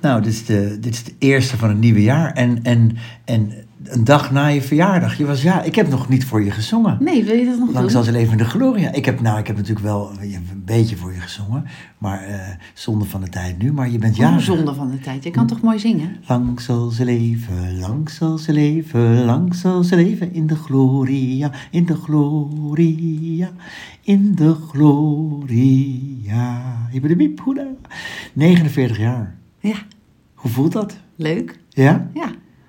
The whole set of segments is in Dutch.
nou, dit is, de, dit is de eerste van het nieuwe jaar. En, en, en een dag na je verjaardag. Je was, ja, ik heb nog niet voor je gezongen. Nee, wil je dat nog Langs doen? als levende gloria. Ik heb, nou, ik heb natuurlijk wel een beetje voor je gezongen. Maar eh, zonde van de tijd nu. Maar je bent Ja. ja. Oh, zonde van de tijd. Je kan toch mooi zingen? Lang zal ze leven, lang zal ze leven, lang zal ze leven in de gloria, in de gloria, in de gloria. Hibbidi-biep, hoeda. 49 jaar. Ja, Hoe voelt dat? leuk. Ja? Ja,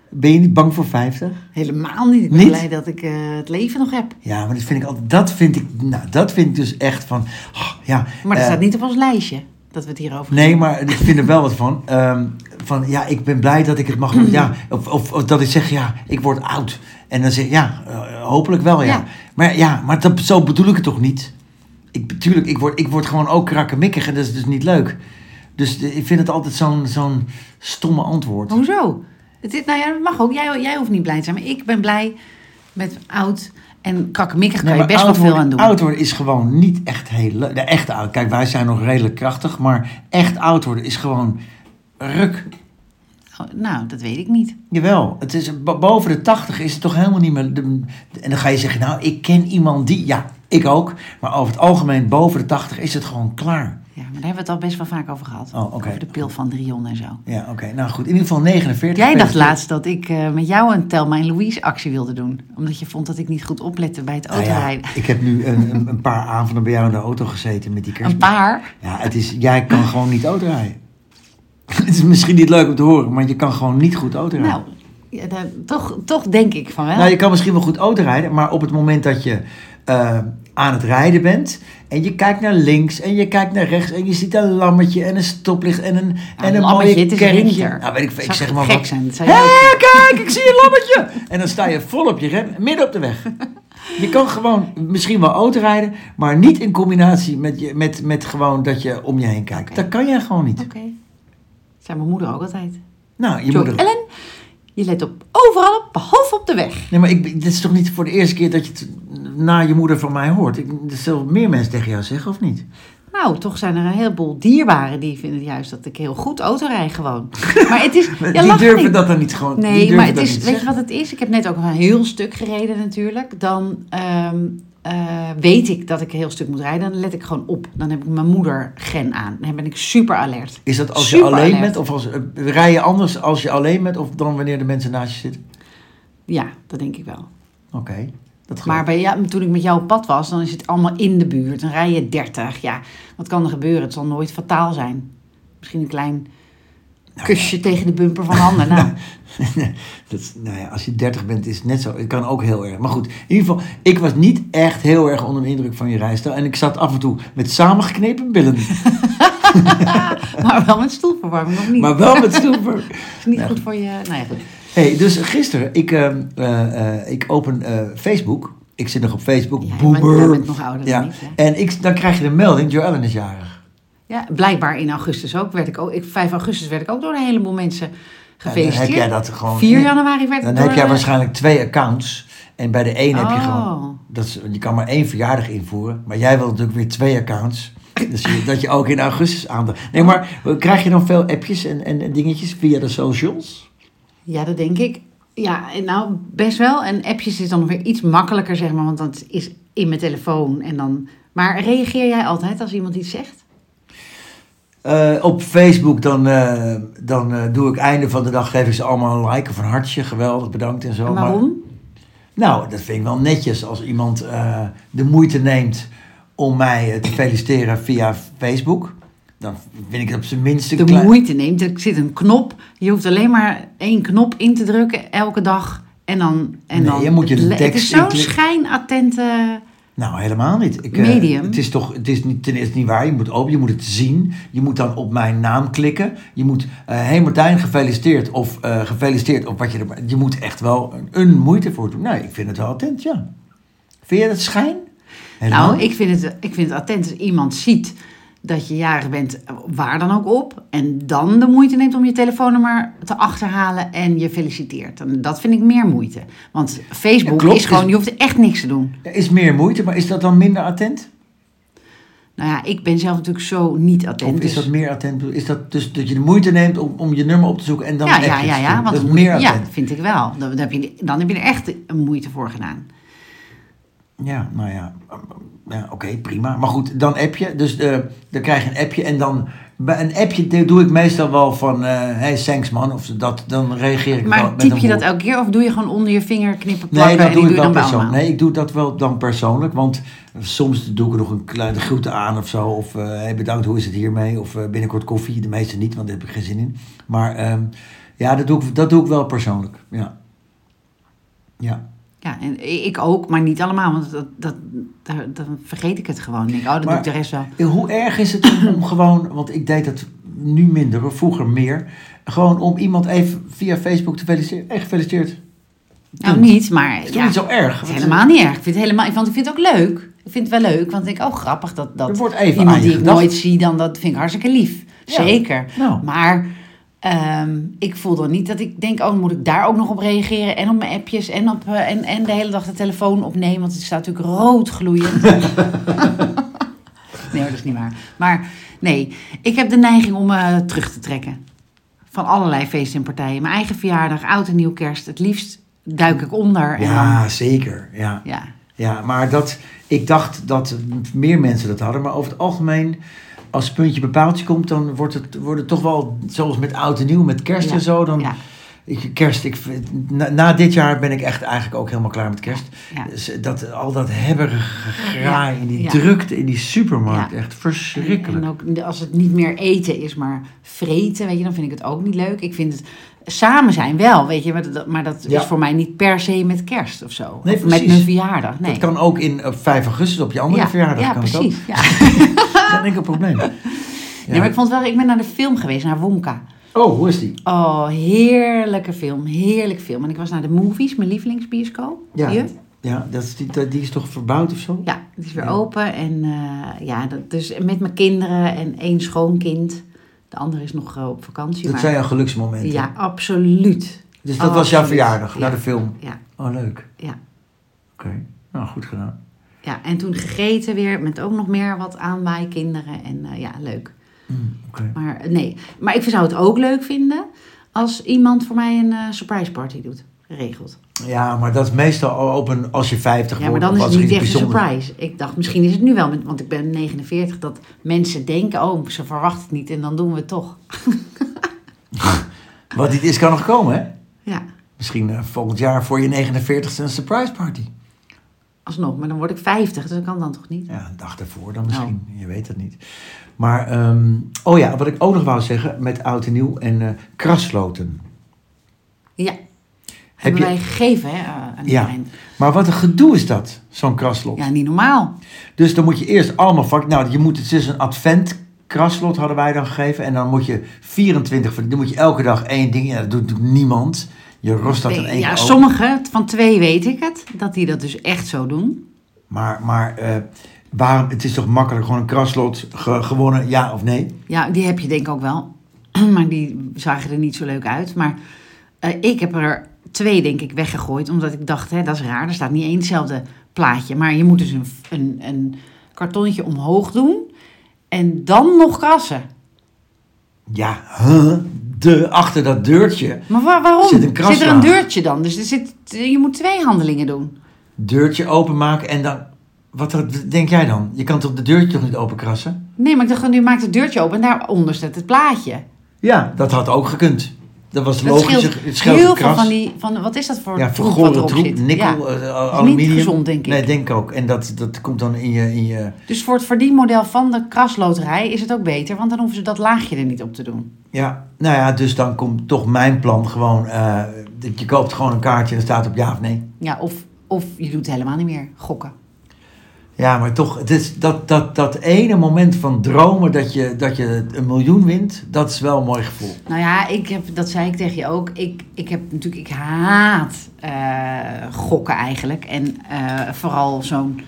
Ben je niet bang voor 50? helemaal niet. Ik ben Niet? blij dat ik eh, het leven nog heb. Ja, maar dat vind ik altijd, dat vind ik, nou, dat vind ik dus echt van, ah, ja. Maar dat eh, staat niet op ons lijstje, dat we het hierover Nee, maar ik vind er wel wat van. Ehm, van ja, ik ben blij dat ik het mag. Ja, of, of, of dat ik zeg, ja, ik word oud. En dan zeg ik, ja, eh, hopelijk wel, ja. Ja. Maar ja, maar dat, zo bedoel ik het toch niet? Ik, tuurlijk, ik word, ik word gewoon ook krakkemikkig en dat is dus niet leuk. Dus de- ik vind het altijd zo'n zo'n stomme antwoord. Hoezo? Het is, nou ja, dat mag ook. Jij, jij hoeft niet blij te zijn, maar ik ben blij met oud en krakkemikkig kan Nee, je maar best wel oud veel worden- aan doen. Oud worden is gewoon niet echt heel leuk. De echt oud. Kijk, wij zijn nog redelijk krachtig, maar echt oud worden is gewoon ruk. Oh, Nou, dat weet ik niet. Jawel, het is, bo- boven de 80 is het toch helemaal niet meer. de- de- en dan ga je zeggen, nou, ik ken iemand die. Ja, ik ook. Maar over het algemeen, boven de 80 is het gewoon klaar. Ja, maar daar hebben we het al best wel vaak over gehad. Oh, oké. Over de pil van Drion en zo. Ja, oké. Nou goed, in ieder geval 49. Jij dacht gefeliciteerd. laatst dat ik eh, met jou een Telma en Louise actie wilde doen. Omdat je vond dat ik niet goed oplette bij het Nou ja, autorijden. ik heb nu een, een, een paar avonden bij jou in de auto gezeten met die kerst. Een paar. Ja, het is, jij kan gewoon niet autorijden. het is misschien niet leuk om te horen, maar je kan gewoon niet goed autorijden. Nou, ja, daar- toch, toch denk ik van wel. Nou, je kan misschien wel goed autorijden, maar op het moment dat je eh, aan het rijden bent en je kijkt naar links en je kijkt naar rechts en je ziet een lammetje en een stoplicht en een, en een lammetje, mooie het is kerkje. winter. Nou, weet ik, veel, ik Zou zeg maar gek wat. zijn, dat zou Hé, jij ook kijk, ik zie een lammetje! En dan sta je vol op je rem, midden op de weg. Je kan gewoon misschien wel autorijden, maar niet in combinatie met, je, met, met gewoon dat je om je heen kijkt. Oké. Dat kan jij gewoon niet. Oké. Zei mijn moeder ook altijd. Nou, je Je moet er- Ellen, je let op overal op, behalve op de weg. Nee, maar ik, dit is toch niet voor de eerste keer dat je het na je moeder van mij hoort? Ik, dat zullen meer mensen tegen jou zeggen, of niet? Nou, toch zijn er een heleboel dierbaren die vinden juist dat ik heel goed autorij gewoon. Maar het is... Ja, die lach durven niet. dat dan niet gewoon. die Nee, durven maar het dat is, niet te weet je zeggen. wat het is? Ik heb net ook een heel stuk gereden natuurlijk. Dan ehm, eh, weet ik dat ik een heel stuk moet rijden. Dan let ik gewoon op. Dan heb ik mijn moeder gen aan. Dan ben ik super alert. Is dat als je Super alleen alert. bent? Of als, eh, rij je anders als je alleen bent? Of dan wanneer de mensen naast je zitten? Ja, dat denk ik wel. Oké, dat geloof Maar bij, ja, toen ik met jou op pad was, dan is het allemaal in de buurt. Dan rij je 30. Ja, wat kan er gebeuren? Het zal nooit fataal zijn. Misschien een klein Nou kusje tegen de bumper van handen. Nou, ik. dat, is- nou ja, als je 30 bent, is het net zo. Het kan ook heel erg. Maar goed, in ieder geval, ik was niet echt heel erg onder de indruk van je rijstijl. En ik zat af en toe met samengeknepen billen. maar wel met stoelverwarming, nog niet. maar wel met stoepen. is niet Nee. goed voor je... Nou ja, goed. Hey, dus gisteren, ik, ehm, eh, eh, ik open eh, Facebook. Ik zit nog op Facebook. Ja, je Boomer. bent- jij bent nog ouder dan ik, hè? En ik, dan krijg je de melding, Joellen is jarig. Ja, blijkbaar in augustus ook. Werd ik ook ik, 5 augustus werd ik ook door een heleboel mensen gefeliciteerd. heb jij dat gewoon- 4 januari werd ik Dan door heb jij een- waarschijnlijk twee accounts. En bij de een heb je Oh. gewoon... Dat is, je kan maar één verjaardag invoeren. Maar jij wil natuurlijk weer twee accounts. Dus je- dat je ook in augustus aandacht... Nee, maar krijg je dan veel appjes en, en, en dingetjes via de socials? Ja, dat denk ik. Ja, en nou, best wel. En appjes is dan nog weer iets makkelijker, zeg maar. Want dat is in mijn telefoon. En dan... Maar reageer jij altijd als iemand iets zegt? Eh, op Facebook dan, eh, dan eh, doe ik einde van de dag... geef ik ze allemaal een like of een hartje. Geweldig, bedankt en zo. en maar- waarom? Nou, dat vind ik wel netjes als iemand eh, de moeite neemt om mij eh, te feliciteren via Facebook. Dan vind ik het op zijn minst een de klein- moeite neemt. Er zit een knop. Je hoeft alleen maar één knop in te drukken elke dag. En dan... En Nee, dan je moet je het tekst is zo'n inklikken. schijnattente... Nou, helemaal niet. Ik, eh, Medium. Het is toch, het is niet, ten eerste niet waar. Je moet open, je moet het zien. Je moet dan op mijn naam klikken. Je moet, hé hey Martijn, gefeliciteerd of eh, gefeliciteerd op wat je er... Je moet echt wel een, een moeite voor doen. Nee, ik vind het wel attent, ja. Vind je dat schijn? Helemaal Nou, ik vind, het, ik vind het attent als iemand ziet dat je jarig bent, waar dan ook op. En dan de moeite neemt om je telefoonnummer te achterhalen en je feliciteert. En dat vind ik meer moeite. Want Facebook Ja, klopt. is gewoon, Is- je hoeft echt niks te doen. Er is meer moeite, maar is dat dan minder attent? Nou ja, ik ben zelf natuurlijk zo niet attent. Of is dus- dat meer attent? Is dat dus dat je de moeite neemt om, om je nummer op te zoeken en dan ja, echt ja, ja, ja, want dat is het moet- meer ja, attent. vind ik wel. Dan, dan heb je, dan heb je er echt een moeite voor gedaan. Ja, nou ja. ja Oké, prima. Maar goed, dan app je. Dus eh, dan krijg je een appje en dan... Bij een appje doe ik meestal wel van... eh hey, thanks man. Of dat, dan reageer ik wel Maar met typ een je dat woord. elke keer of doe je gewoon onder je vinger knippen Nee, plakken dat en doe die ik doe je wel dan bij allemaal? persoonlijk. Nee, ik doe dat wel dan persoonlijk. Want soms doe ik er nog een kleine groete aan of zo. Of eh, hey, bedankt, hoe is het hiermee? Of eh, binnenkort koffie. De meeste niet, want daar heb ik geen zin in. Maar ehm, ja, dat doe, ik, dat doe ik wel persoonlijk. Ja. Ja. Ja, en ik ook, maar niet allemaal, want dat, dat, daar- dan vergeet ik het gewoon. Dan Denk, ik, oh, dat Maar- doe ik de rest wel. En Hoe erg is het om- om gewoon, want ik deed dat nu minder, hoor, vroeger meer. Gewoon om iemand even via Facebook te feliciteren. Hey, gefeliciteerd. Nou, niet, maar Is toch ja, niet zo eh, erg? het is Want, helemaal niet erg. Ik vind het helemaal, want ik vind het ook leuk. Ik vind het wel leuk, want ik denk, oh grappig, dat, Er dat wordt even aan iemand je die ik gedacht. nooit zie, dan dat vind ik hartstikke lief. Ja. Zeker. Nou. Maar ehm, ik voel dan niet dat ik denk, oh, dan moet ik daar ook nog op reageren. En op mijn appjes en, op, eh, en, en de hele dag de telefoon opnemen, want het staat natuurlijk rood gloeiend. nee, hoor, dat is niet waar. Maar nee, ik heb de neiging om eh, terug te trekken. Van allerlei feesten en partijen. Mijn eigen verjaardag, oud en nieuw kerst. Het liefst duik ik onder. En Ja, zeker. Ja. Dan, ja. ja, maar dat, ik dacht dat meer mensen dat hadden. Maar over het algemeen, als het puntje bepaaltje komt, dan wordt het, wordt het toch wel, zoals met oud en nieuw, met kerst Ja. en zo. Dan, Ja. ik, kerst, ik, vind- na, na dit jaar ben ik echt eigenlijk ook helemaal klaar met kerst. Ja. Dus Dat, al dat hebberige graai in die Ja. drukte in die supermarkt. Ja. Echt verschrikkelijk. En ook als het niet meer eten is, maar vreten, weet je, dan vind ik het ook niet leuk. Ik vind het samen zijn wel, weet je, maar dat, maar dat Ja. is voor mij niet per se met kerst of zo. Nee, Of met precies. mijn verjaardag. Nee. Dat kan ook in, op 5 augustus op je andere ja, verjaardag. Ja, kan het precies. ook. Ja. Dat is een enkel probleem. Nee, maar ik vond wel, ik ben naar de film geweest, naar Wonka. Oh, hoe is die? Oh, heerlijke film, heerlijk film. En ik was naar de movies, mijn lievelingsbioscoop. Ja, Hier. ja dat is, die, die is toch verbouwd of zo? Ja, het is weer Ja. open. En eh, ja, dat, dus met mijn kinderen en één schoonkind. De andere is nog eh, op vakantie. Dat maar- zijn jouw geluksmomenten. Ja, absoluut. Dus dat Oh, was jouw absoluut. verjaardag, Ja. naar de film. Ja, Oh, leuk. ja, Oké. Nou, goed gedaan. ja. En toen gegeten weer met ook nog meer wat aanwaaikinderen. En eh, ja, leuk. Mm, Oké. Maar eh, nee, maar ik zou het ook leuk vinden als iemand voor mij een eh, surprise party doet. Regelt. Ja, maar dat is meestal al op een, als je 50 Ja, maar wordt. dan of is het als er niet iets echt een bijzonders- surprise. Ik dacht, misschien is het nu wel, met- want ik ben 49, dat mensen denken, oh, ze verwachten het niet en dan doen we het toch. Wat niet is, kan nog komen, hè? Ja, Misschien eh, volgend jaar voor je 49ste een surprise party. alsnog, maar dan word ik 50, dus dat kan dan toch niet? Ja, een dag ervoor Oh. dan misschien. Je weet het niet. Maar, ehm, oh ja, wat ik ook nog wou zeggen met oud en nieuw en eh, krasloten. Ja, Heb hebben je, wij gegeven, hè, eh, aan Ja. iedereen. maar wat een gedoe is dat, zo'n kraslot. Ja, niet normaal. Dus dan moet je eerst allemaal vak. Nou, je moet het is een advent kraslot hadden wij dan gegeven. En dan moet je 24 van. Dan moet je elke dag één ding. Ja, dat doet natuurlijk niemand. Je rost dat in Nee, één ja, keer over. sommigen, van twee weet ik het, dat die dat dus echt zo doen. Maar, maar eh, waarom? Het is toch makkelijk gewoon een kraslot ge- gewonnen, ja of nee? Ja, die heb je denk ik ook wel, maar die zagen er niet zo leuk uit. Maar eh, ik heb er twee denk ik weggegooid, omdat ik dacht, hè, dat is raar, er staat niet één hetzelfde plaatje. Maar je moet dus een, een, een kartonnetje omhoog doen en dan nog krassen. Ja, huh? de, achter dat deurtje. Maar wa- waarom? Zit een kras er een aan. deurtje dan? Dus er zit, je moet twee handelingen doen. Deurtje openmaken en dan. Wat wat denk jij dan? Je kan toch de deurtje toch niet openkrassen? Nee, maar ik dacht, nu maakt het deurtje open en daaronder staat het plaatje. Ja, dat had ook gekund. Dat was Dat logisch. scheelt het scheelt een heel veel kras. van die... Van, wat is dat voor Ja, troep wat vergore erop troep, zit? nikkel, Ja. eh, niet aluminium. gezond, denk ik. Nee, denk ook. En dat, dat komt dan in je, in je... Dus voor het verdienmodel van de krasloterij is het ook beter. Want dan hoeven ze dat laagje er niet op te doen. Ja, nou ja, dus dan komt toch mijn plan gewoon... eh, dat je koopt gewoon een kaartje en er staat op ja of nee. Ja, of, of je doet het helemaal niet meer. Gokken. Ja, maar toch, het is dat, dat, dat ene moment van dromen dat je, dat je een miljoen wint, dat is wel een mooi gevoel. Nou ja, ik heb, dat zei ik tegen je ook. Ik, ik heb natuurlijk... Ik haat eh, gokken eigenlijk. En eh, vooral zo'n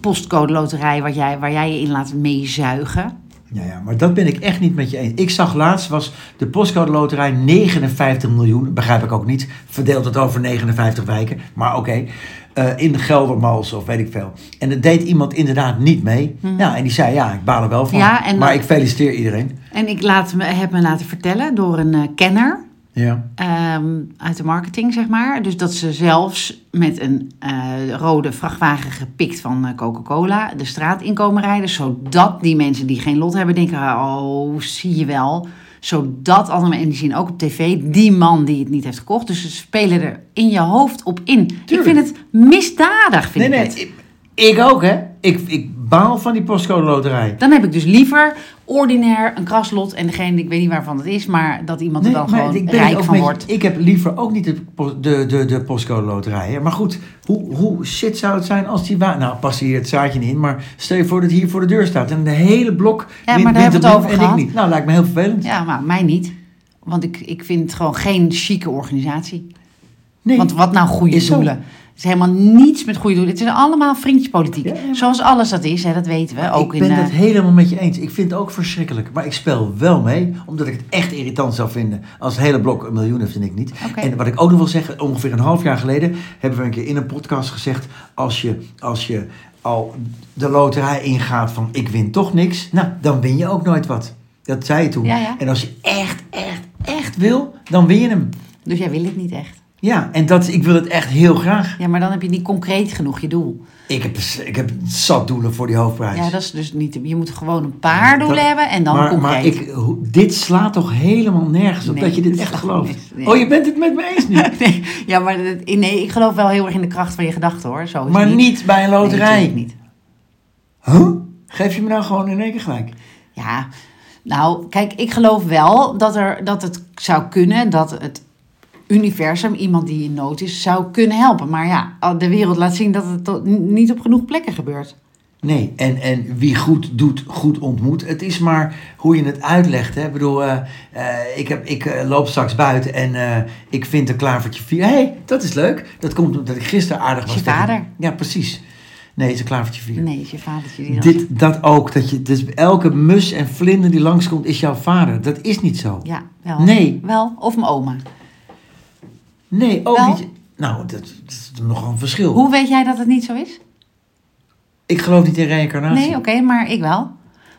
postcode loterij wat jij, waar jij je in laat meezuigen. Ja, ja, maar dat ben ik echt niet met je eens. Ik zag laatst was de postcode loterij 59 miljoen, begrijp ik ook niet, verdeeld het over 59 wijken, maar oké, eh, in Geldermals of weet ik veel. En dat deed iemand inderdaad niet mee. Ja, en die zei, ja, ik baal er wel van, Mhm. Ja, en- maar ik feliciteer iedereen. En ik laat me, heb me laten vertellen door een eh, kenner Ja, ehm, uit de marketing, zeg maar. Dus dat ze zelfs met een eh, rode vrachtwagen gepikt van eh, Coca-Cola de straat in komen rijden. Zodat die mensen die geen lot hebben denken, oh, zie je wel. Zodat andere mensen, en die zien ook op tv, die man die het niet heeft gekocht. Dus ze spelen er in je hoofd op in. Tuurlijk. Ik vind het misdadig, vind nee, ik nee, het. ik, ik ook hè. Ik, ik baal van die postcode loterij. Dan heb ik dus liever ordinair een kraslot en degene, ik weet niet waarvan het is, maar dat iemand er dan maar gewoon ik ben het rijk ook van met je- wordt. Ik heb liever ook niet de, po- de, de, de postcode loterij. Hè. Maar goed, hoe, hoe shit zou het zijn als die... wa- Nou, pas hier het zaadje niet in, maar stel je voor dat het hier voor de deur staat. En de hele blok Ja, win- maar daar wint hebben we op dit- het over en gehad. ik niet. Nou, lijkt me heel vervelend. Ja, maar mij niet. Want ik, ik vind het gewoon geen chique organisatie. Nee, Want wat nou goede Is zo. doelen? Het is helemaal niets met goede doelen. Het is allemaal vriendjespolitiek. Ja, ja, maar- Zoals alles dat is, hè, dat weten we. Ook ik ben in, eh, het helemaal met je eens. Ik vind het ook verschrikkelijk. Maar ik speel wel mee, omdat ik het echt irritant zou vinden... als het hele blok een miljoen heeft en ik niet. Oké. En wat ik ook nog wil zeggen, ongeveer een half jaar geleden... hebben we een keer in een podcast gezegd... als je, als je al de loterij ingaat van ik win toch niks... nou, dan win je ook nooit wat. Dat zei je toen. Ja, ja. En als je echt, echt, echt wil, dan win je hem. Dus jij wil het niet echt. Ja, en dat, ik wil het echt heel graag. Ja, maar dan heb je niet concreet genoeg je doel. Ik heb, ik heb zat doelen voor die hoofdprijs. Ja, dat is dus niet... Je moet gewoon een paar doelen Dat- hebben en dan maar, concreet. Maar ik, hoe- dit slaat toch helemaal nergens op Nee, dat je dit dit echt slaat gelooft? nergens- nee. Oh, je bent het met me eens nu? nee, ja, maar dat- nee, ik geloof wel heel erg in de kracht van je gedachten, hoor. Zo is maar het niet. bij een Nee, loterij. natuurlijk niet. Huh? Geef je me nou gewoon in één keer gelijk? Ja, nou, kijk, ik geloof wel dat, er, dat het zou kunnen dat het universum, iemand die in nood is, zou kunnen helpen. Maar ja, de wereld laat zien dat het tot- niet op genoeg plekken gebeurt. Nee, en, en wie goed doet, goed ontmoet. Het is maar hoe je het uitlegt. Hè? Ik bedoel, eh, eh, ik, heb, ik eh, loop straks buiten en eh, ik vind een klavertje vier. Hé, hey, dat is leuk. Dat komt omdat ik gisteren aardig Is was. je tegen- vader? Ja, precies. Nee, het is een klavertje vier. Nee, is je vadertje die dan zegt- Dit, dat ook. Dat je, dus elke mus en vlinder die langskomt is jouw vader. Dat is niet zo. Ja, wel. Nee. Wel, of mijn oma. Nee, ook Wel? niet. Nou, dat, dat is nogal een verschil. Hoe weet jij dat het niet zo is? Ik geloof niet in reïncarnatie. Nee, oké, maar ik wel.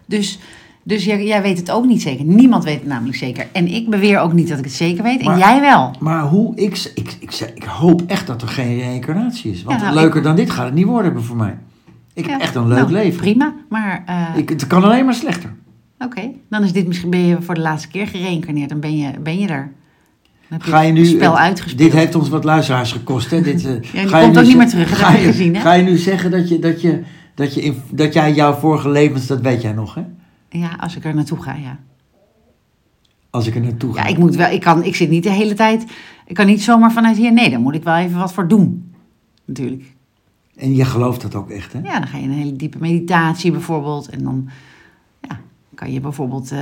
Dus, dus jij, jij weet het ook niet zeker. Niemand weet het namelijk zeker. En ik beweer ook niet dat ik het zeker weet. Maar- en jij wel. Maar hoe ik, ik, ik, ik hoop echt dat er geen reïncarnatie is. Want Ja, nou, leuker dan dit gaat het niet worden voor mij. Ik heb Ja, echt een leuk nou, leven. Prima, maar... eh, Ik, het kan alleen maar slechter. Oké, dan is dit misschien ben je voor de laatste keer gereïncarneerd. Dan ben je, ben je er. Dan heb Ga je nu, het spel eh, uitgespeeld. Dit heeft ons wat luisteraars gekost. Hè? Dit, eh, die ga je komt nu ook niet ze- meer terug, dat Ga heb ik je, gezien, hè? ga je nu zeggen dat, je, dat, je, dat, je in- dat jij jouw vorige levens, dat weet jij nog, hè? Ja, als ik er naartoe ga, ja. Als ik er naartoe ga. Ja, ik moet wel. Ik, kan, ik zit niet de hele tijd. Ik kan niet zomaar vanuit hier. Nee, daar moet ik wel even wat voor doen. Natuurlijk. En je gelooft dat ook echt, hè? Ja, dan ga je in een hele diepe meditatie bijvoorbeeld. En dan ja, kan je bijvoorbeeld. eh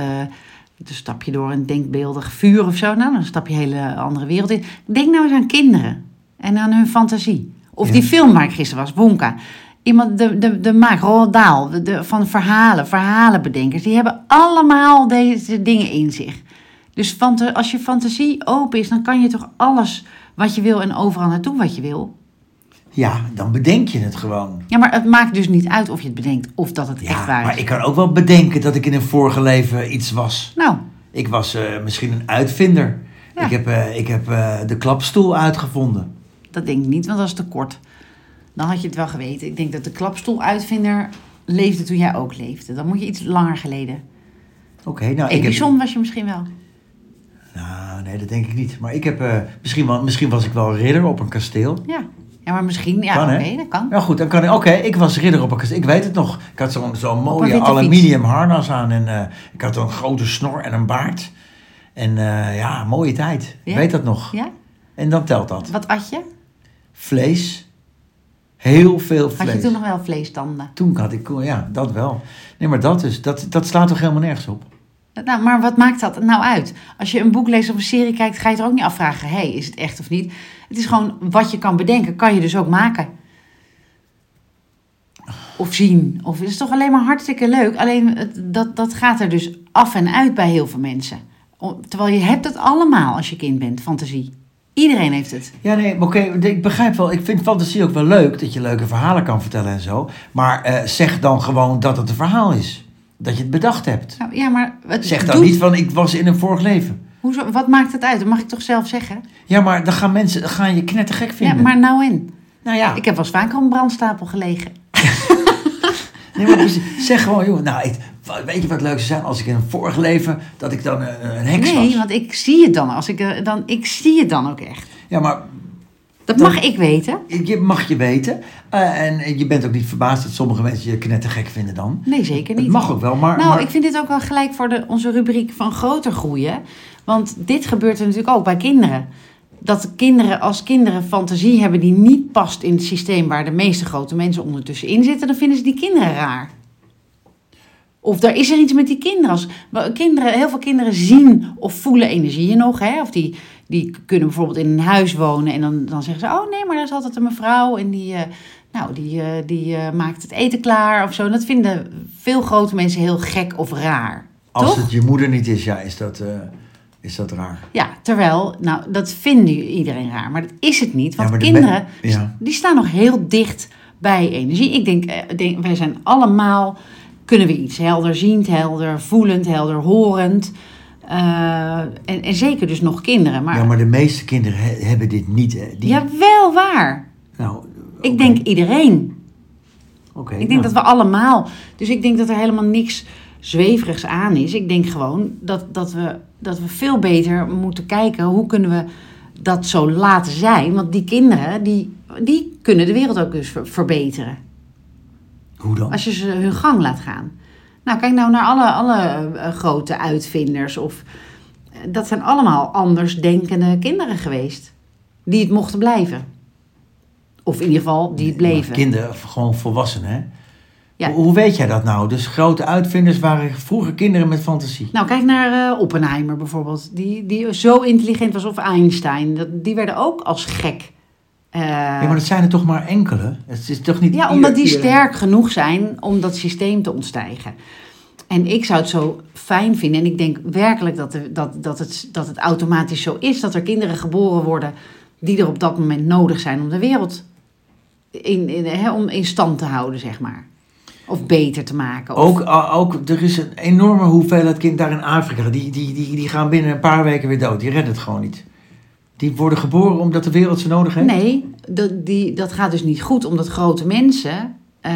dan stap je door een denkbeeldig vuur of zo. Nou, dan stap je een hele andere wereld in. Denk nou eens aan kinderen en aan hun fantasie. Of Ja. die film waar ik gisteren was, Wonka. Iemand, de, de, de maak, Roald Dahl, de, de- van verhalen, verhalenbedenkers. Die hebben allemaal deze dingen in zich. Dus fanta- als je fantasie open is, dan kan je toch alles wat je wil en overal naartoe wat je wil. Ja, dan bedenk je het gewoon. Ja, maar het maakt dus niet uit of je het bedenkt of dat het echt waar is. maar ik kan ook wel bedenken dat ik in een vorige leven iets was. Nou, Ik was eh, misschien een uitvinder. Ja. Ik heb, eh, ik heb eh, de klapstoel uitgevonden. dat denk ik niet, want dat is te kort. Dan had je het wel geweten. Ik denk dat de klapstoeluitvinder leefde toen jij ook leefde. Dan moet je iets langer geleden. Oké, nou ik heb... Edison was je misschien wel. Nou, nee, dat denk ik niet. Maar ik heb, eh, misschien, wel, misschien was ik wel ridder op een kasteel. Ja, ja maar misschien. Ja, Kan, oké, hè? dat kan. Nou goed, dan kan ik... Oké, ik was ridder op een kasteel. Ik weet het nog. Ik had zo'n zo'n mooie witte aluminium harnas aan. En eh, ik had een grote snor en een baard. En eh, ja, mooie tijd. Ik Ja? weet dat nog. Ja? En dan telt dat. Wat at je? Vlees. Heel veel Had vlees. je toen nog wel vleestanden? Toen had ik, ja, dat wel. Nee, maar dat is, dat, dat slaat toch helemaal nergens op? Nou, maar wat maakt dat nou uit? Als je een boek leest of een serie kijkt, ga je er ook niet afvragen: hé, hey, is het echt of niet? Het is gewoon wat je kan bedenken, kan je dus ook maken. of zien. Of het is toch alleen maar hartstikke leuk. Alleen het- dat, dat gaat er dus af en uit bij heel veel mensen. O- Terwijl je hebt het allemaal als je kind bent, fantasie. Iedereen heeft het. Ja, nee, maar oké, ik begrijp wel. Ik vind fantasie ook wel leuk, dat je leuke verhalen kan vertellen en zo. Maar eh, zeg dan gewoon dat het een verhaal is. Dat je het bedacht hebt. Nou, ja, maar het Zeg dan doet- niet van, ik was in een vorig leven. Hoezo, wat maakt het uit? Dat mag ik toch zelf zeggen? Ja, maar dan gaan mensen dan gaan je knettergek Ja, vinden. maar nou en? Nou ja, Ik heb wel eens vaker op een brandstapel gelegen. nee, maar precies. zeg gewoon, joh, nou, ik, weet je wat leuk zou zijn als ik in een vorig leven, dat ik dan eh, een heks Nee, was? want ik zie het dan. Als ik, eh, dan. Ik zie het dan ook echt. Ja, maar Dat Dan- mag ik weten. je mag je weten. Eh, en je bent ook niet verbaasd dat sommige mensen je knettergek vinden dan. Nee, zeker niet. Het mag ook wel, maar... Nou, maar- ik vind dit ook wel gelijk voor de, onze rubriek van groter groeien. Want dit gebeurt er natuurlijk ook bij kinderen. Dat kinderen als kinderen fantasie hebben die niet past in het systeem waar de meeste grote mensen ondertussen in zitten, dan vinden ze die kinderen raar. Of daar is er iets met die kinderen. Als, wel, kinderen heel veel kinderen zien of voelen energieën nog. Hè? Of die, die kunnen bijvoorbeeld in een huis wonen en dan, dan zeggen ze: Oh nee, maar er is altijd een mevrouw en die, eh, nou, die, eh, die eh, maakt het eten klaar of zo. En dat vinden veel grote mensen heel gek of raar. Als toch? het je moeder niet is, ja, is dat, eh, is dat raar. Ja, terwijl, nou, dat vinden ju- iedereen raar, maar dat is het niet. Want Ja, maar de kinderen, men- ja. die staan nog heel dicht bij energie. Ik denk, eh, denk, wij zijn allemaal, kunnen we iets helder ziend, helder voelend, helder horend. Eh, en, en zeker dus nog kinderen. Maar, Ja, maar de meeste kinderen he- hebben dit niet. Hè. Die, jawel, waar. Nou, Ik denk iedereen. oké, Ik denk nou. dat we allemaal. Dus ik denk dat er helemaal niks zweverigs aan is. Ik denk gewoon dat, dat, we, dat we veel beter moeten kijken hoe kunnen we dat zo laten zijn. Want die kinderen, die, die kunnen de wereld ook dus ver- verbeteren. Hoe dan? Als je ze hun gang laat gaan. Nou, kijk nou naar alle, alle eh, grote uitvinders. Of, eh, dat zijn allemaal anders denkende kinderen geweest. Die het mochten blijven. Of in ieder geval, die het Maar bleven. Kinderen, of gewoon volwassenen, hè? Ja. Hoe, hoe weet jij dat nou? Dus grote uitvinders waren vroeger kinderen met fantasie. Nou, kijk naar eh, Oppenheimer bijvoorbeeld. Die, die zo intelligent was. Of Einstein. Dat, die werden ook als gek. eh, ja, maar dat zijn er toch maar enkele? Het is toch niet ja, ieder- omdat die iedereen- sterk genoeg zijn om dat systeem te ontstijgen. En ik zou het zo fijn vinden. En ik denk werkelijk dat, er- dat, dat, het, dat het automatisch zo is. Dat er kinderen geboren worden die er op dat moment nodig zijn om de wereld in, in, hè, om in stand te houden, zeg maar. Of beter te maken. Of, Ook, a- ook, er is een enorme hoeveelheid kind daar in Afrika. Die, die, die, die gaan binnen een paar weken weer dood. Die redden het gewoon niet. Die worden geboren omdat de wereld ze nodig heeft? Nee, dat, die, dat gaat dus niet goed omdat grote mensen eh,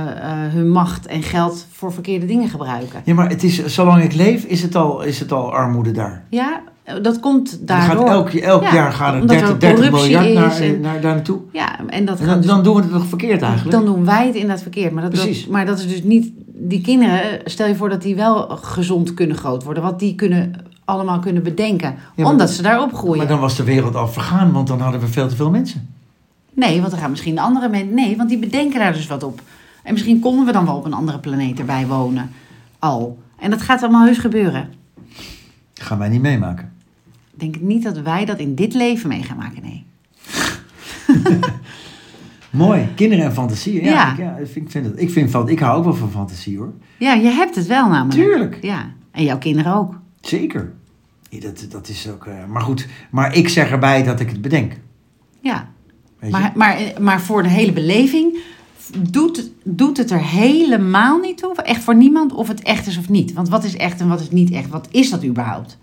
eh, hun macht en geld voor verkeerde dingen gebruiken. Ja, maar het is, zolang ik leef, is het al, is het al armoede daar. Ja, eh, dat komt Dan daardoor. Gaat elk elk Ja, jaar gaan er omdat 30, er 30 corruptie miljard naar, is en- naar, daar naartoe. Ja, en En dat gaat dan, dus- dan doen we het toch verkeerd eigenlijk? dan doen wij het inderdaad verkeerd. Maar dat, dat- Precies. maar dat is dus niet. Die kinderen, stel je voor dat die wel gezond kunnen groot worden. Wat die kunnen, allemaal kunnen bedenken. maar omdat dat- ze daar opgroeien. maar dan was de wereld al vergaan, want dan hadden we veel te veel mensen. Nee, want er gaan misschien andere mensen. Nee, want die bedenken daar dus wat op. En misschien konden we dan wel op een andere planeet erbij wonen. Al. En dat gaat allemaal heus gebeuren. Dat gaan wij niet meemaken. Ik denk niet dat wij dat in dit leven mee gaan maken, nee. Mooi, kinderen en fantasie. Ja, Ja. Ik, ja, ik vind, ik vind het, ik, vind, van- ik hou ook wel van fantasie hoor. Ja, je hebt het wel namelijk. Tuurlijk. Ja, en jouw kinderen ook. Zeker. Ja, dat, dat is ook, eh, maar goed, maar ik zeg erbij dat ik het bedenk. Ja. Weet je? Maar, maar, maar voor de hele beleving doet, doet het er helemaal niet toe. Echt voor niemand of het echt is of niet. Want wat is echt en wat is niet echt? Wat is dat überhaupt?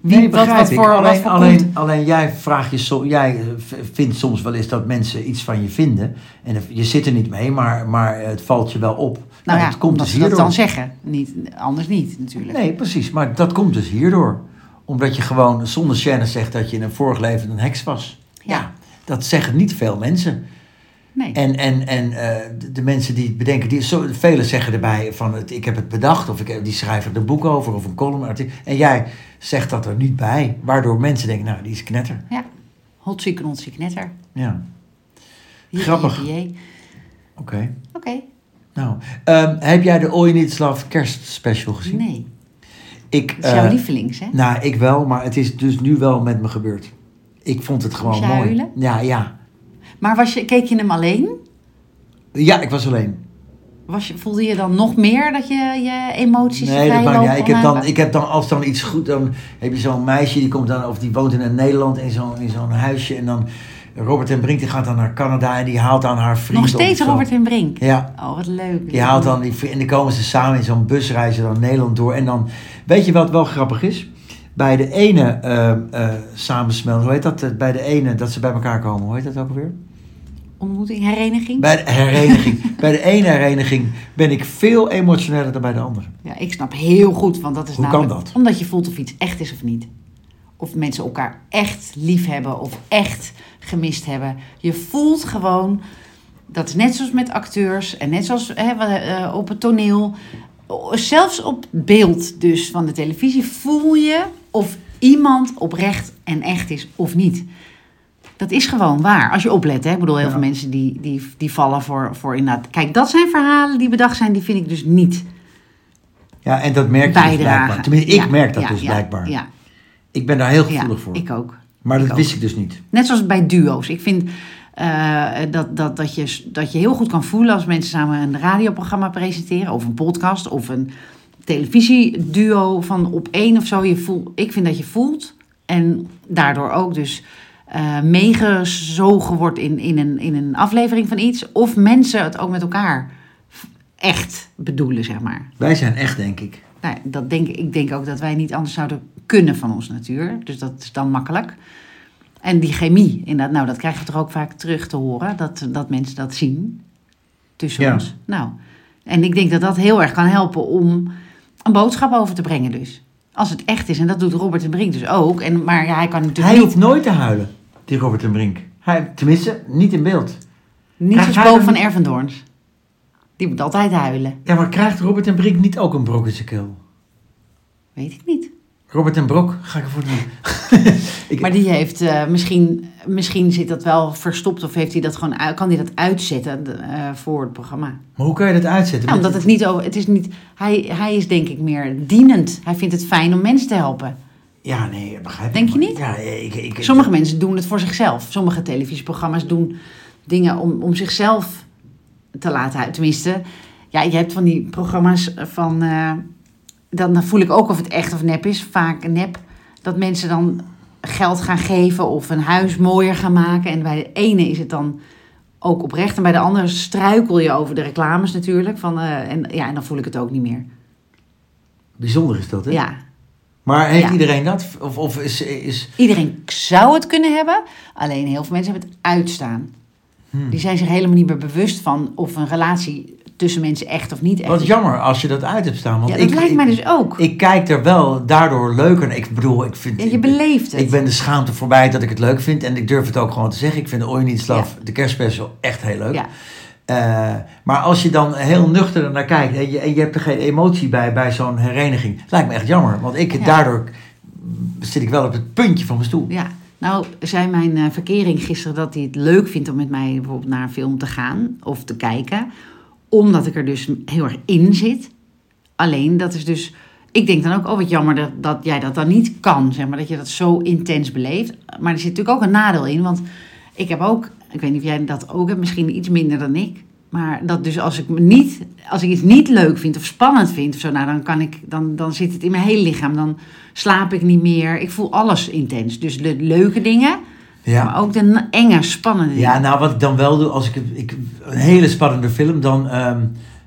Wie- nee, wat- begrijp wat ik. voor- wat alleen, voor alleen, komt- alleen jij, vraagt je so- jij eh, v- vindt soms wel eens dat mensen iets van je vinden. En dat- je zit er niet mee, maar, maar het valt je wel op. Nou ja, dat komt omdat dus ze dat hierdoor. dan zeggen. Niet, anders niet, natuurlijk. Nee, precies. Maar dat komt dus hierdoor. Omdat je gewoon zonder scène zegt dat je in een vorig leven een heks was. Ja. dat zeggen niet veel mensen. Nee. En, en, en eh, de- de mensen die het bedenken, die, zo, velen zeggen erbij van het, ik heb het bedacht. Of ik, heb- die schrijven er een boek over of een columnartikel. En jij zegt dat er niet bij. Waardoor mensen denken, nou die is knetter. Ja, hotsie knotsie knetter. Ja, Jippie, Grappig. jippie, jee. oké. Oké, Nou, ehm, heb jij de Ojenitslav kerstspecial gezien? nee. Ik, Dat is jouw eh, lievelings, hè? Nou, ik wel, maar het is dus nu wel met me gebeurd. Ik vond het gewoon Moest je mooi. huilen? Ja, ja. Maar was je, keek je hem alleen? Ja, ik was alleen. Was je, voelde je dan nog meer dat je je Nee, emoties dat maakt niet vrijlopen uit. Ik heb, online? dan, ik heb dan, als dan iets goed, dan heb je zo'n meisje die komt dan, of die woont in een Nederland in zo'n in zo'n huisje. En dan Robert en Brink, die gaat dan naar Canada en die haalt dan haar vriend. Nog op steeds of zo. Robert en Brink. Ja. Oh, wat leuk. Die haalt dan die vri- en dan komen ze samen in zo'n busreizen dan Nederland door. En dan, weet je wat wel grappig is? Bij de ene eh eh samensmel, hoe heet dat? Eh, Bij de ene dat ze bij elkaar komen, hoe heet dat ook alweer? Ontmoeting, hereniging. Bij de hereniging. bij de ene hereniging ben ik veel emotioneler dan bij de andere. Ja, ik snap heel goed, want dat is Hoe kan namelijk... dat? Omdat je voelt of iets echt is of niet. Of mensen elkaar echt lief hebben of echt gemist hebben. Je voelt gewoon, dat is net zoals met acteurs en net zoals hè, wat, eh, op het toneel. Zelfs op beeld dus van de televisie voel je of iemand oprecht en echt is of niet. Dat is gewoon waar, als je oplet. Hè? Ik bedoel, heel Ja. veel mensen die, die, die vallen voor, voor inderdaad... Kijk, dat zijn verhalen die bedacht zijn, die vind ik dus niet Ja, en dat merk je dus bijdragen. blijkbaar. Tenminste, ik Ja, merk dat ja, dus ja, blijkbaar. Ja, Ik ben daar heel ja, gevoelig voor. ik ook. Maar dat ook. wist ik dus niet. Net zoals bij duo's. Ik vind eh, dat, dat, dat, je, dat je heel goed kan voelen als mensen samen een radioprogramma presenteren... of een podcast of een televisieduo van op één of zo. Je voel, ik vind dat je voelt en daardoor ook dus... eh, meegezogen wordt in, in, een, in een aflevering van iets. Of mensen het ook met elkaar echt bedoelen, zeg maar. Wij zijn echt, denk ik. Nou, ja, dat denk, ik- ik denk ook dat wij niet anders zouden kunnen van ons natuur. Dus dat is dan makkelijk. En die chemie, inderdaad, nou, dat krijgen we toch ook vaak terug te horen. Dat, dat mensen dat zien tussen Ja. ons. Nou, en ik denk dat dat heel erg kan helpen om een boodschap over te brengen dus. Als het echt is. En dat doet Robert en Brink dus ook. En, maar ja, hij kan natuurlijk Hij niet, hoeft nooit te huilen, die Robert en Brink. Hij, tenminste, niet in beeld. niet Hij- zoals hij Bo kan van niet- Ervendoorns. Die moet altijd huilen. Ja, maar krijgt Robert en Brink niet ook een brok in zijn keel? Weet ik niet. Robert en Brok, ga ik ervoor doen. ik, Maar die heeft eh, misschien, misschien zit dat wel verstopt of heeft hij dat gewoon, uit- kan hij dat uitzetten eh, voor het programma? maar hoe kan je dat uitzetten? Ja, omdat het niet over, het is niet, hij, hij is denk ik meer dienend. Hij vindt het fijn om mensen te helpen. Ja, nee, dat begrijp ik. Denk je maar. niet? Ja, ik, ik, ik- Sommige mensen doen het voor zichzelf. Sommige televisieprogramma's doen dingen om, om zichzelf te laten uit. Tenminste, ja, je hebt van die programma's van. eh, dan dan voel ik ook of het echt of nep is. Vaak nep. Dat mensen dan geld gaan geven of een huis mooier gaan maken. En bij de ene is het dan ook oprecht. En bij de andere struikel je over de reclames natuurlijk. Van, eh, en, ja, en dan voel ik het ook niet meer. Bijzonder is dat, hè? Ja. Maar heeft Ja. iedereen dat? Of, of is, is... Iedereen zou het kunnen hebben, alleen heel veel mensen hebben het uitstaan. Hmm. Die zijn zich helemaal niet meer bewust van of een relatie tussen mensen echt of niet echt Wat is. jammer als je dat uit hebt staan. Want Ja, dat ik, lijkt ik, mij dus ook. Ik kijk er wel daardoor leuker naar. Ik bedoel, ik vind... Ja, je beleeft het. Ik ben de schaamte voorbij dat ik het leuk vind. En ik durf het ook gewoon te zeggen. Ik vind de Ooiendienstlaaf, de kerstspecial, echt heel leuk. Ja. Eh, maar als je dan heel nuchter ernaar kijkt en je, en je hebt er geen emotie bij, bij zo'n hereniging, lijkt me echt jammer. Want ik, Ja. daardoor zit ik wel op het puntje van mijn stoel. Ja, nou zei mijn eh, verkering gisteren dat hij het leuk vindt om met mij bijvoorbeeld naar een film te gaan of te kijken. Omdat ik er dus heel erg in zit. Alleen dat is dus. Ik denk dan ook, oh wat jammer dat, dat jij dat dan niet kan, zeg maar. Dat je dat zo intens beleeft. Maar er zit natuurlijk ook een nadeel in. Want ik heb ook, ik weet niet of jij dat ook hebt, misschien iets minder dan ik. Maar dat dus als ik, me niet, als ik iets niet leuk vind of spannend vind of zo, nou, dan, kan ik, dan, dan zit het in mijn hele lichaam. Dan slaap ik niet meer. Ik voel alles intens. Dus de leuke dingen, Ja. maar ook de na- enge, spannende dingen. Ja, nou wat ik dan wel doe, als ik, het- ik een hele spannende film, dan, ehm,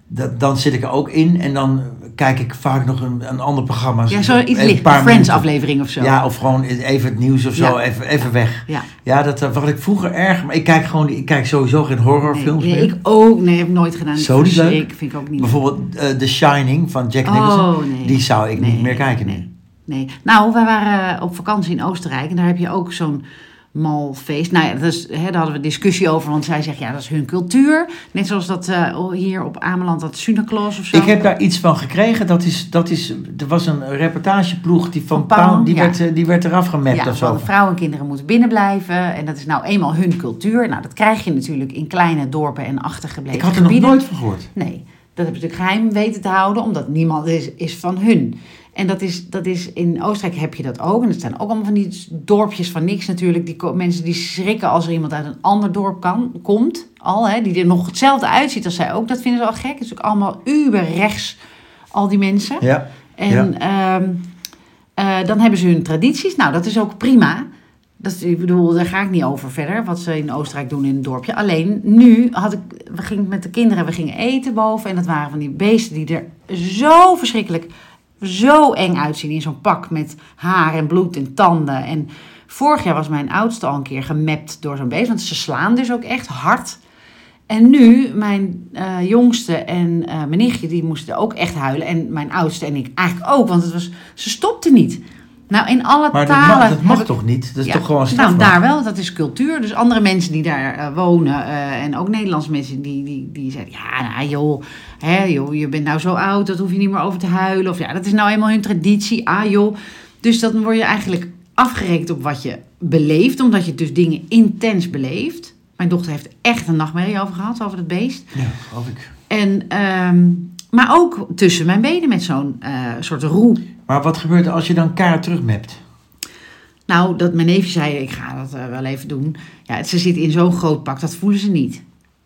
dat, dan zit ik er ook in en dan kijk ik vaak nog een, een ander programma. ja, zo iets Een licht. paar Friends minuten. aflevering of zo. Ja, of gewoon even het nieuws of zo, Ja. even, even weg. Ja. Ja, dat eh, wat ik vroeger erg, maar ik kijk gewoon, ik kijk sowieso geen Nee, horrorfilms nee, meer. ik ook. Nee, heb ik nooit gedaan. Zo niet leuk? Ik vind ik ook niet leuk. Bijvoorbeeld eh, The Shining van Jack Nicholson, Oh, nee. die zou ik Nee, niet meer kijken nu. Nee. nee. Nou, wij waren op vakantie in Oostenrijk en daar heb je ook zo'n mal feest. Nou ja, dat is, hè, daar hadden we discussie over, want zij zegt ja, dat is hun cultuur. Net zoals dat eh, hier op Ameland, dat Suneklaus of zo. Ik heb daar iets van gekregen. Dat is, dat is, er was een reportageploeg die van, Van Paul, Paul, die, ja. werd, eh, die werd eraf gemapt ja, of zo. want vrouwen en kinderen moeten binnenblijven. En dat is nou eenmaal hun cultuur. Nou, dat krijg je natuurlijk in kleine dorpen en achtergebleven Ik had er nog gebieden. nooit van gehoord. Nee, dat hebben ze natuurlijk geheim weten te houden, omdat niemand is, is van hun. En dat is, dat is, in Oostenrijk heb je dat ook. En er staan ook allemaal van die dorpjes van niks natuurlijk. Die ko- mensen die schrikken als er iemand uit een ander dorp kan, komt. Al, hè, die er nog hetzelfde uitziet als zij ook. Dat vinden ze al gek. Het is ook allemaal uber rechts, al die mensen. Ja. En ehm, eh, dan hebben ze hun tradities. Nou, dat is ook prima. Dat, is- ik bedoel, daar ga ik niet over verder, wat ze in Oostenrijk doen in het dorpje. Alleen nu had ik, we gingen met de kinderen, we gingen eten boven. En dat waren van die beesten die er zo verschrikkelijk, zo eng uitzien in zo'n pak met haar en bloed en tanden. En vorig jaar was mijn oudste al een keer gemapt door zo'n beest, want ze slaan dus ook echt hard. En nu, mijn eh, jongste en eh, mijn nichtje, die moesten ook echt huilen. En mijn oudste en ik eigenlijk ook, want het was, ze stopte niet. Nou, in alle Maar dat talen... mag, dat mag heb ik- toch niet? Dat is ja, toch gewoon Nou, strafbaar? daar wel. Dat is cultuur. Dus andere mensen die daar eh, wonen eh, en ook Nederlandse mensen die, die, die zeiden... Ja, nou joh, hè, joh, je bent nou zo oud, dat hoef je niet meer over te huilen. Of ja, dat is nou eenmaal hun traditie. Ah joh. Dus dan word je eigenlijk afgerekend op wat je beleeft. Omdat je dus dingen intens beleeft. Mijn dochter heeft echt een nachtmerrie over gehad, over dat beest. Ja, geloof ik. En, ehm, maar ook tussen mijn benen met zo'n eh, soort roe Maar wat gebeurt er als je dan kaart terugmapt? Nou, dat mijn neefje zei, ik ga dat eh, wel even doen. Ja, het- ze zit in zo'n groot pak, dat voelen ze niet.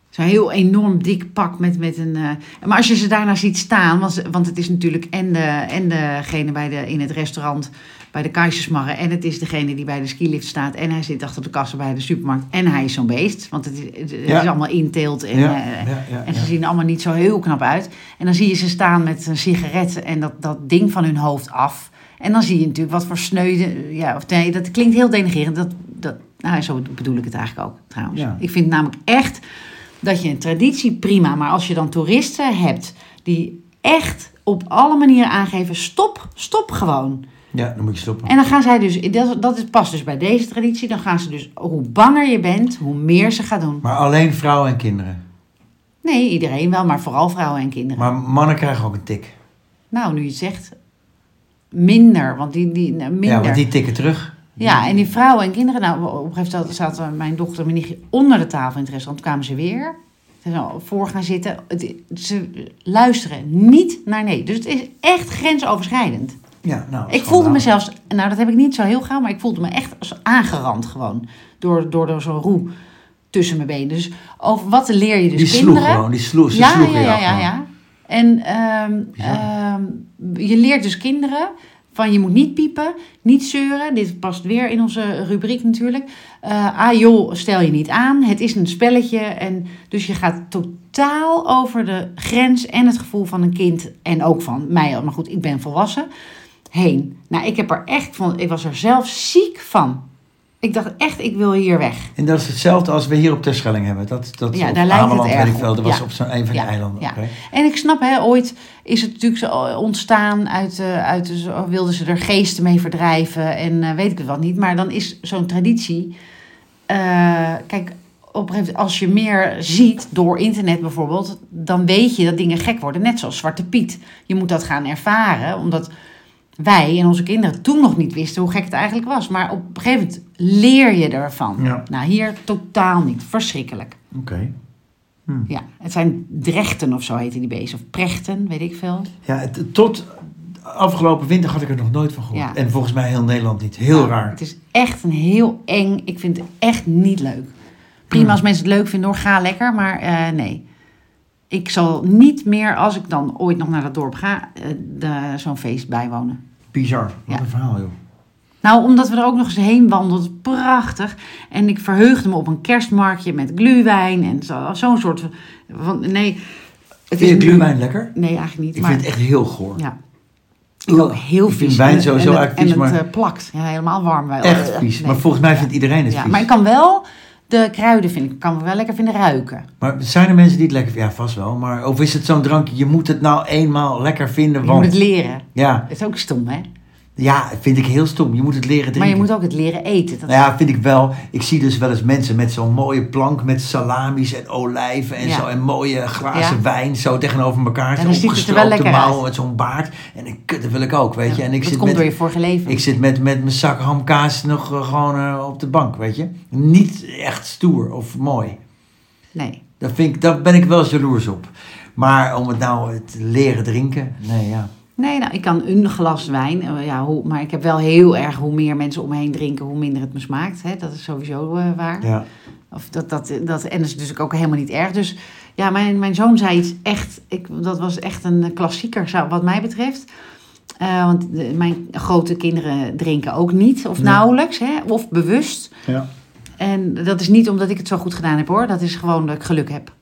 Zo'n heel enorm dik pak met, met een... eh, maar als je ze daarna ziet staan, want, ze- want het is natuurlijk en, de, en degene bij de, in het restaurant bij de kaarsjesmarre... en het is degene die bij de skilift staat... en hij zit achter de kassa bij de supermarkt en hij is zo'n beest. Want het is, het is Ja. allemaal inteelt en... ja, eh, ja, ja, en ze ja. zien er allemaal niet zo heel knap uit. En dan zie je ze staan met een sigaret en dat, dat ding van hun hoofd af. En dan zie je natuurlijk wat voor sneude. Ja, of nee, dat klinkt heel denigrerend. Dat, dat, nou, zo bedoel ik het eigenlijk ook trouwens. Ja. Ik vind namelijk echt dat je een traditie prima. Maar als je dan toeristen hebt die echt op alle manieren aangeven: stop, stop gewoon. Ja, dan moet je stoppen. En dan gaan zij dus, dat, dat is- past dus bij deze traditie. Dan gaan ze dus, hoe banger je bent, hoe meer ze gaat doen. Maar alleen vrouwen en kinderen. Nee, iedereen wel, maar vooral vrouwen en kinderen. Maar mannen krijgen ook een tik. Nou, nu je het zegt, minder. Want die, die nou, minder. Ja, want die tikken terug. Ja, en die vrouwen en kinderen. Nou, op een gegeven moment zaten mijn dochter en mijn nichtje onder de tafel in het restaurant. Toen kwamen ze weer. Ze zijn al voor gaan zitten. Het- ze luisteren niet naar nee. Dus het is echt grensoverschrijdend. Ja, nou, Ik voelde me zelfs, nou dat heb ik niet zo heel gauw, maar ik voelde me echt als aangerand gewoon. Door, door, door zo'n roe tussen mijn benen. Dus over wat leer je dus Die kinderen? sloeg gewoon, die sloeg, ze sloegen ja, jou ja, ja, gewoon. ja. En ehm, Ja. ehm, je leert dus kinderen van je moet niet piepen, niet zeuren. Dit past weer in onze rubriek natuurlijk. Eh, ah joh, stel je niet aan. Het is een spelletje. En dus je gaat totaal over de grens en het gevoel van een kind. En ook van mij. Maar goed, ik ben volwassen. Heen. Nou, ik heb er echt van. Ik was er zelf ziek van. Ik dacht echt, ik wil hier weg. En dat is hetzelfde als we hier op Terschelling hebben. Dat, dat Ja, op daar lijkt het Ameland, erg weet ik wel. op. Dat was Ja. op zo'n een van die Ja, eilanden. ja. oké. En ik snap, hè, ooit is het natuurlijk zo eh, ontstaan uit, eh, uit de- zo- wilden ze er geesten mee verdrijven en eh, weet ik het wat niet. Maar dan is zo'n traditie, eh, kijk, op een gegeven moment, als je meer ziet door internet bijvoorbeeld, dan weet je dat dingen gek worden. Net zoals Zwarte Piet. Je moet dat gaan ervaren, omdat wij en onze kinderen toen nog niet wisten hoe gek het eigenlijk was. Maar op een gegeven moment leer je ervan. Ja. Nou, hier totaal niet. Verschrikkelijk. Oké. Hm. Ja, het zijn drechten of zo heten die beesten. Of prechten, weet ik veel. Ja, het- tot afgelopen winter had ik er nog nooit van gehoord. Ja. En volgens mij heel Nederland niet. Heel Nou, raar. Het is echt een heel eng... Ik vind het echt niet leuk. Hmm. Prima als mensen het leuk vinden hoor, ga lekker. Maar eh, nee. Ik zal niet meer, als ik dan ooit nog naar dat dorp ga, eh, de- zo'n feest bijwonen. Bizar. Wat Ja. een verhaal, joh. Nou, omdat we er ook nog eens heen wandelden. Prachtig. En ik verheugde me op een kerstmarktje met gluwijn en zo- zo'n soort van... van- nee, het Vind je nu- gluwijn lekker? Nee, eigenlijk niet. Ik maar, vind het echt heel goor. Ja. Ik ook heel Ik vies. vind wijn En- sowieso en, het- eigenlijk vies, En het maar- eh, plakt. Ja, helemaal warm. Wel. Echt Eh, vies. nee. Maar volgens mij vindt iedereen het ja, vies. Maar ik kan wel de kruiden vinden. Ik kan wel lekker vinden ruiken. Maar zijn er mensen die het lekker vinden? Ja, vast wel. Maar, of is het zo'n drankje, je moet het nou eenmaal lekker vinden, Je moet het want... leren. Ja, Het is ook stom, hè? ja, vind ik heel stom. Je moet het leren drinken. Maar je moet ook het leren eten. Dat Nou ja, vind ik wel. Ik zie dus wel eens mensen met zo'n mooie plank met salamis en olijven en Ja. zo. En mooie glazen Ja. wijn zo tegenover elkaar. Ja, Zo'n dan ziet het er wel opgestroopte lekker mouwen uit. met zo'n baard. En ik, kut, dat wil ik ook, weet je. En ik dat zit komt met, door je vorige leven. ik zit met, met mijn zak hamkaas nog eh, gewoon eh, op de bank, weet je. Niet echt stoer of mooi. Nee. Dat vind ik, daar ben ik wel eens jaloers op. Maar om het nou eh, te leren drinken, nee ja. Nee, nou, ik kan een glas wijn. eh, Ja, hoe, maar ik heb wel heel erg hoe meer mensen om me heen drinken, hoe minder het me smaakt. Hè? Dat is sowieso eh, waar. Ja. Of dat, dat, dat, en dat is dus ook helemaal niet erg. Dus ja, mijn, mijn zoon zei iets echt, ik, dat was echt een klassieker zou- wat mij betreft. Eh, want de- mijn grote kinderen drinken ook niet, of Nee. nauwelijks, hè, of bewust. ja. En dat is niet omdat ik het zo goed gedaan heb hoor. Dat is gewoon dat ik geluk heb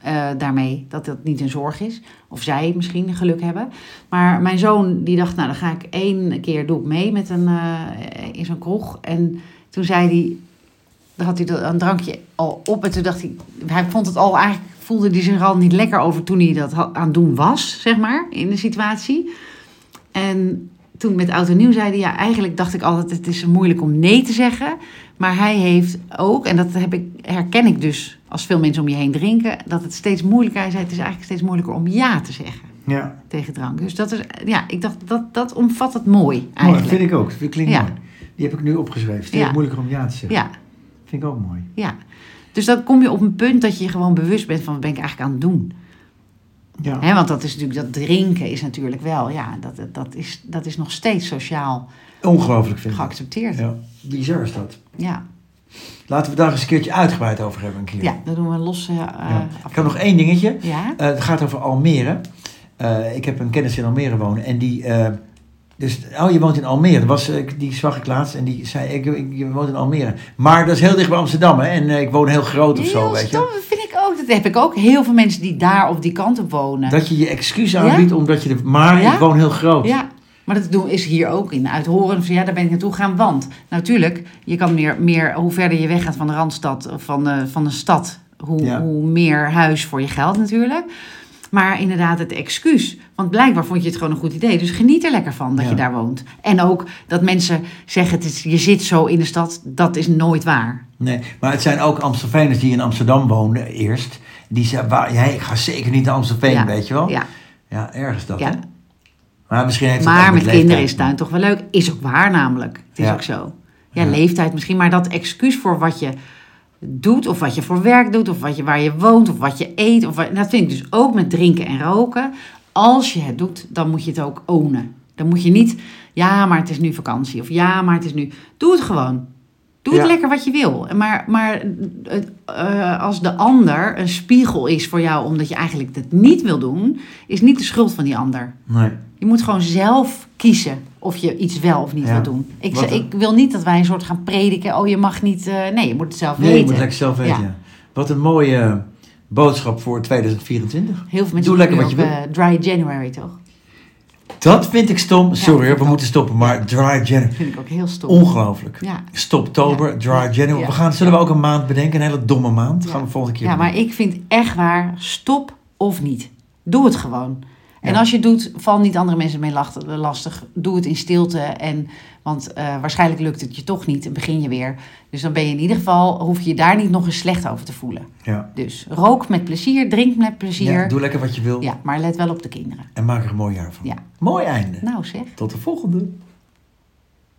eh, daarmee. Dat dat niet een zorg is. Of zij misschien geluk hebben. Maar mijn zoon die dacht, nou dan ga ik één keer doe ik mee met een, eh, in zo'n kroeg. En toen zei hij, dan had hij dat- een drankje al op. En toen dacht hij, hij vond het al eigenlijk, voelde hij zich er al niet lekker over toen hij dat ha- aan het doen was, zeg maar, in de situatie. En toen met Oud en Nieuw zei hij, ja eigenlijk dacht ik altijd, het is moeilijk om nee te zeggen. Maar hij heeft ook, en dat heb ik, herken ik dus als veel mensen om je heen drinken, dat het steeds moeilijker is. Het is eigenlijk steeds moeilijker om ja te zeggen ja. tegen drank. Dus dat is, ja, ik dacht, dat, dat omvat het mooi Mooi, Oh, dat eigenlijk. vind ik ook. Dat klinkt Ja. mooi. Die heb ik nu opgeschreven. Het is Ja. heel moeilijker om ja te zeggen. Ja, Vind ik ook mooi. ja. Dus dan kom je op een punt dat je je gewoon bewust bent van wat ben ik eigenlijk aan het doen. Ja. Hè, want dat is natuurlijk, dat drinken is natuurlijk wel, ja, dat, dat, is, dat is nog steeds sociaal Ongelooflijk vind ik. geaccepteerd. Ja. Bizar is dat. Ja. Laten we daar eens een keertje uitgebreid over hebben. Een keer. Ja, dat doen we een losse. eh Ja. Ik had nog één dingetje. ja? Eh, het gaat over Almere. Eh, ik heb een kennis in Almere wonen. En die. eh, dus, oh, je woont in Almere. Dat was, eh, die zag ik laatst en die zei: ik, ik, Je woont in Almere. Maar dat is heel dicht bij Amsterdam. Hè? En eh, ik woon heel groot of zo. Heel Weet stom, je? dat vind ik ook. Dat heb ik ook. Heel veel mensen die daar op die kant op wonen. Dat je je excuus aanbiedt omdat je. De, maar Ja? ik woon heel groot. Ja, maar dat doen is hier ook in. Uit horen van ja, daar ben ik naartoe gaan. Want natuurlijk, je kan meer, meer hoe verder je weg gaat van de randstad, of van de, van de stad, hoe, Ja. hoe meer huis voor je geld natuurlijk. Maar inderdaad, het excuus. Want blijkbaar vond je het gewoon een goed idee. Dus geniet er lekker van dat Ja. je daar woont. En ook dat mensen zeggen: het is, je zit zo in de stad. Dat is nooit waar. Nee, maar het zijn ook Amstelveeners die in Amsterdam woonden eerst. Die zeiden: "Waar- Jij gaat zeker niet naar Amstelveen, Ja. weet je wel? Ja, Ja, ergens dat. ja. Hè? Maar misschien heeft het Maar ook met kinderen is leeftijd. tuin toch wel leuk. Is ook waar namelijk. Het is Ja. ook zo. Ja, Ja. leeftijd misschien. Maar dat excuus voor wat je doet. Of wat je voor werk doet. Of wat je, waar je woont. Of wat je eet. Of wat- dat vind ik dus ook met drinken en roken. Als je het doet, dan moet je het ook ownen. Dan moet je niet... Ja, maar het is nu vakantie. Of ja, maar het is nu... Doe het gewoon. Doe het Ja. lekker wat je wil. Maar, maar het, eh, als de ander een spiegel is voor jou... omdat je eigenlijk het niet wil doen... is niet de schuld van die ander. Nee. Je moet gewoon zelf kiezen of je iets wel of niet Ja. wil doen. Ik, Wat- ze- ik wil niet dat wij een soort gaan prediken. Oh, je mag niet. eh, nee, je moet het zelf Nee, je weten. moet het lekker zelf weten. Ja. ja. Wat een mooie boodschap voor 2024. Heel veel mensen Doe lekker doen wat je ook, eh, dry January toch? Dat vind ik stom. Sorry, vind ik we ook. moeten stoppen. Maar Dry January. Dat vind ik ook heel stom. Ongelooflijk. ja. Stoptober, Ja. Dry January. Ja. We gaan, zullen we ook een maand bedenken? Een hele domme maand. Ja. Gaan we volgende keer ja, maar bedenken. ik vind echt waar, stop of niet. Doe het gewoon. En Ja. als je het doet, val niet andere mensen mee lacht- lastig. Doe het in stilte. En, want eh, waarschijnlijk lukt het je toch niet en begin je weer. Dus dan ben je in ieder geval, hoef je je daar niet nog eens slecht over te voelen. Ja. Dus rook met plezier, drink met plezier. Ja, doe lekker wat je wil. Ja, maar let wel op de kinderen. En maak er een mooi jaar van. Ja. Mooi einde. Nou zeg. Tot de volgende.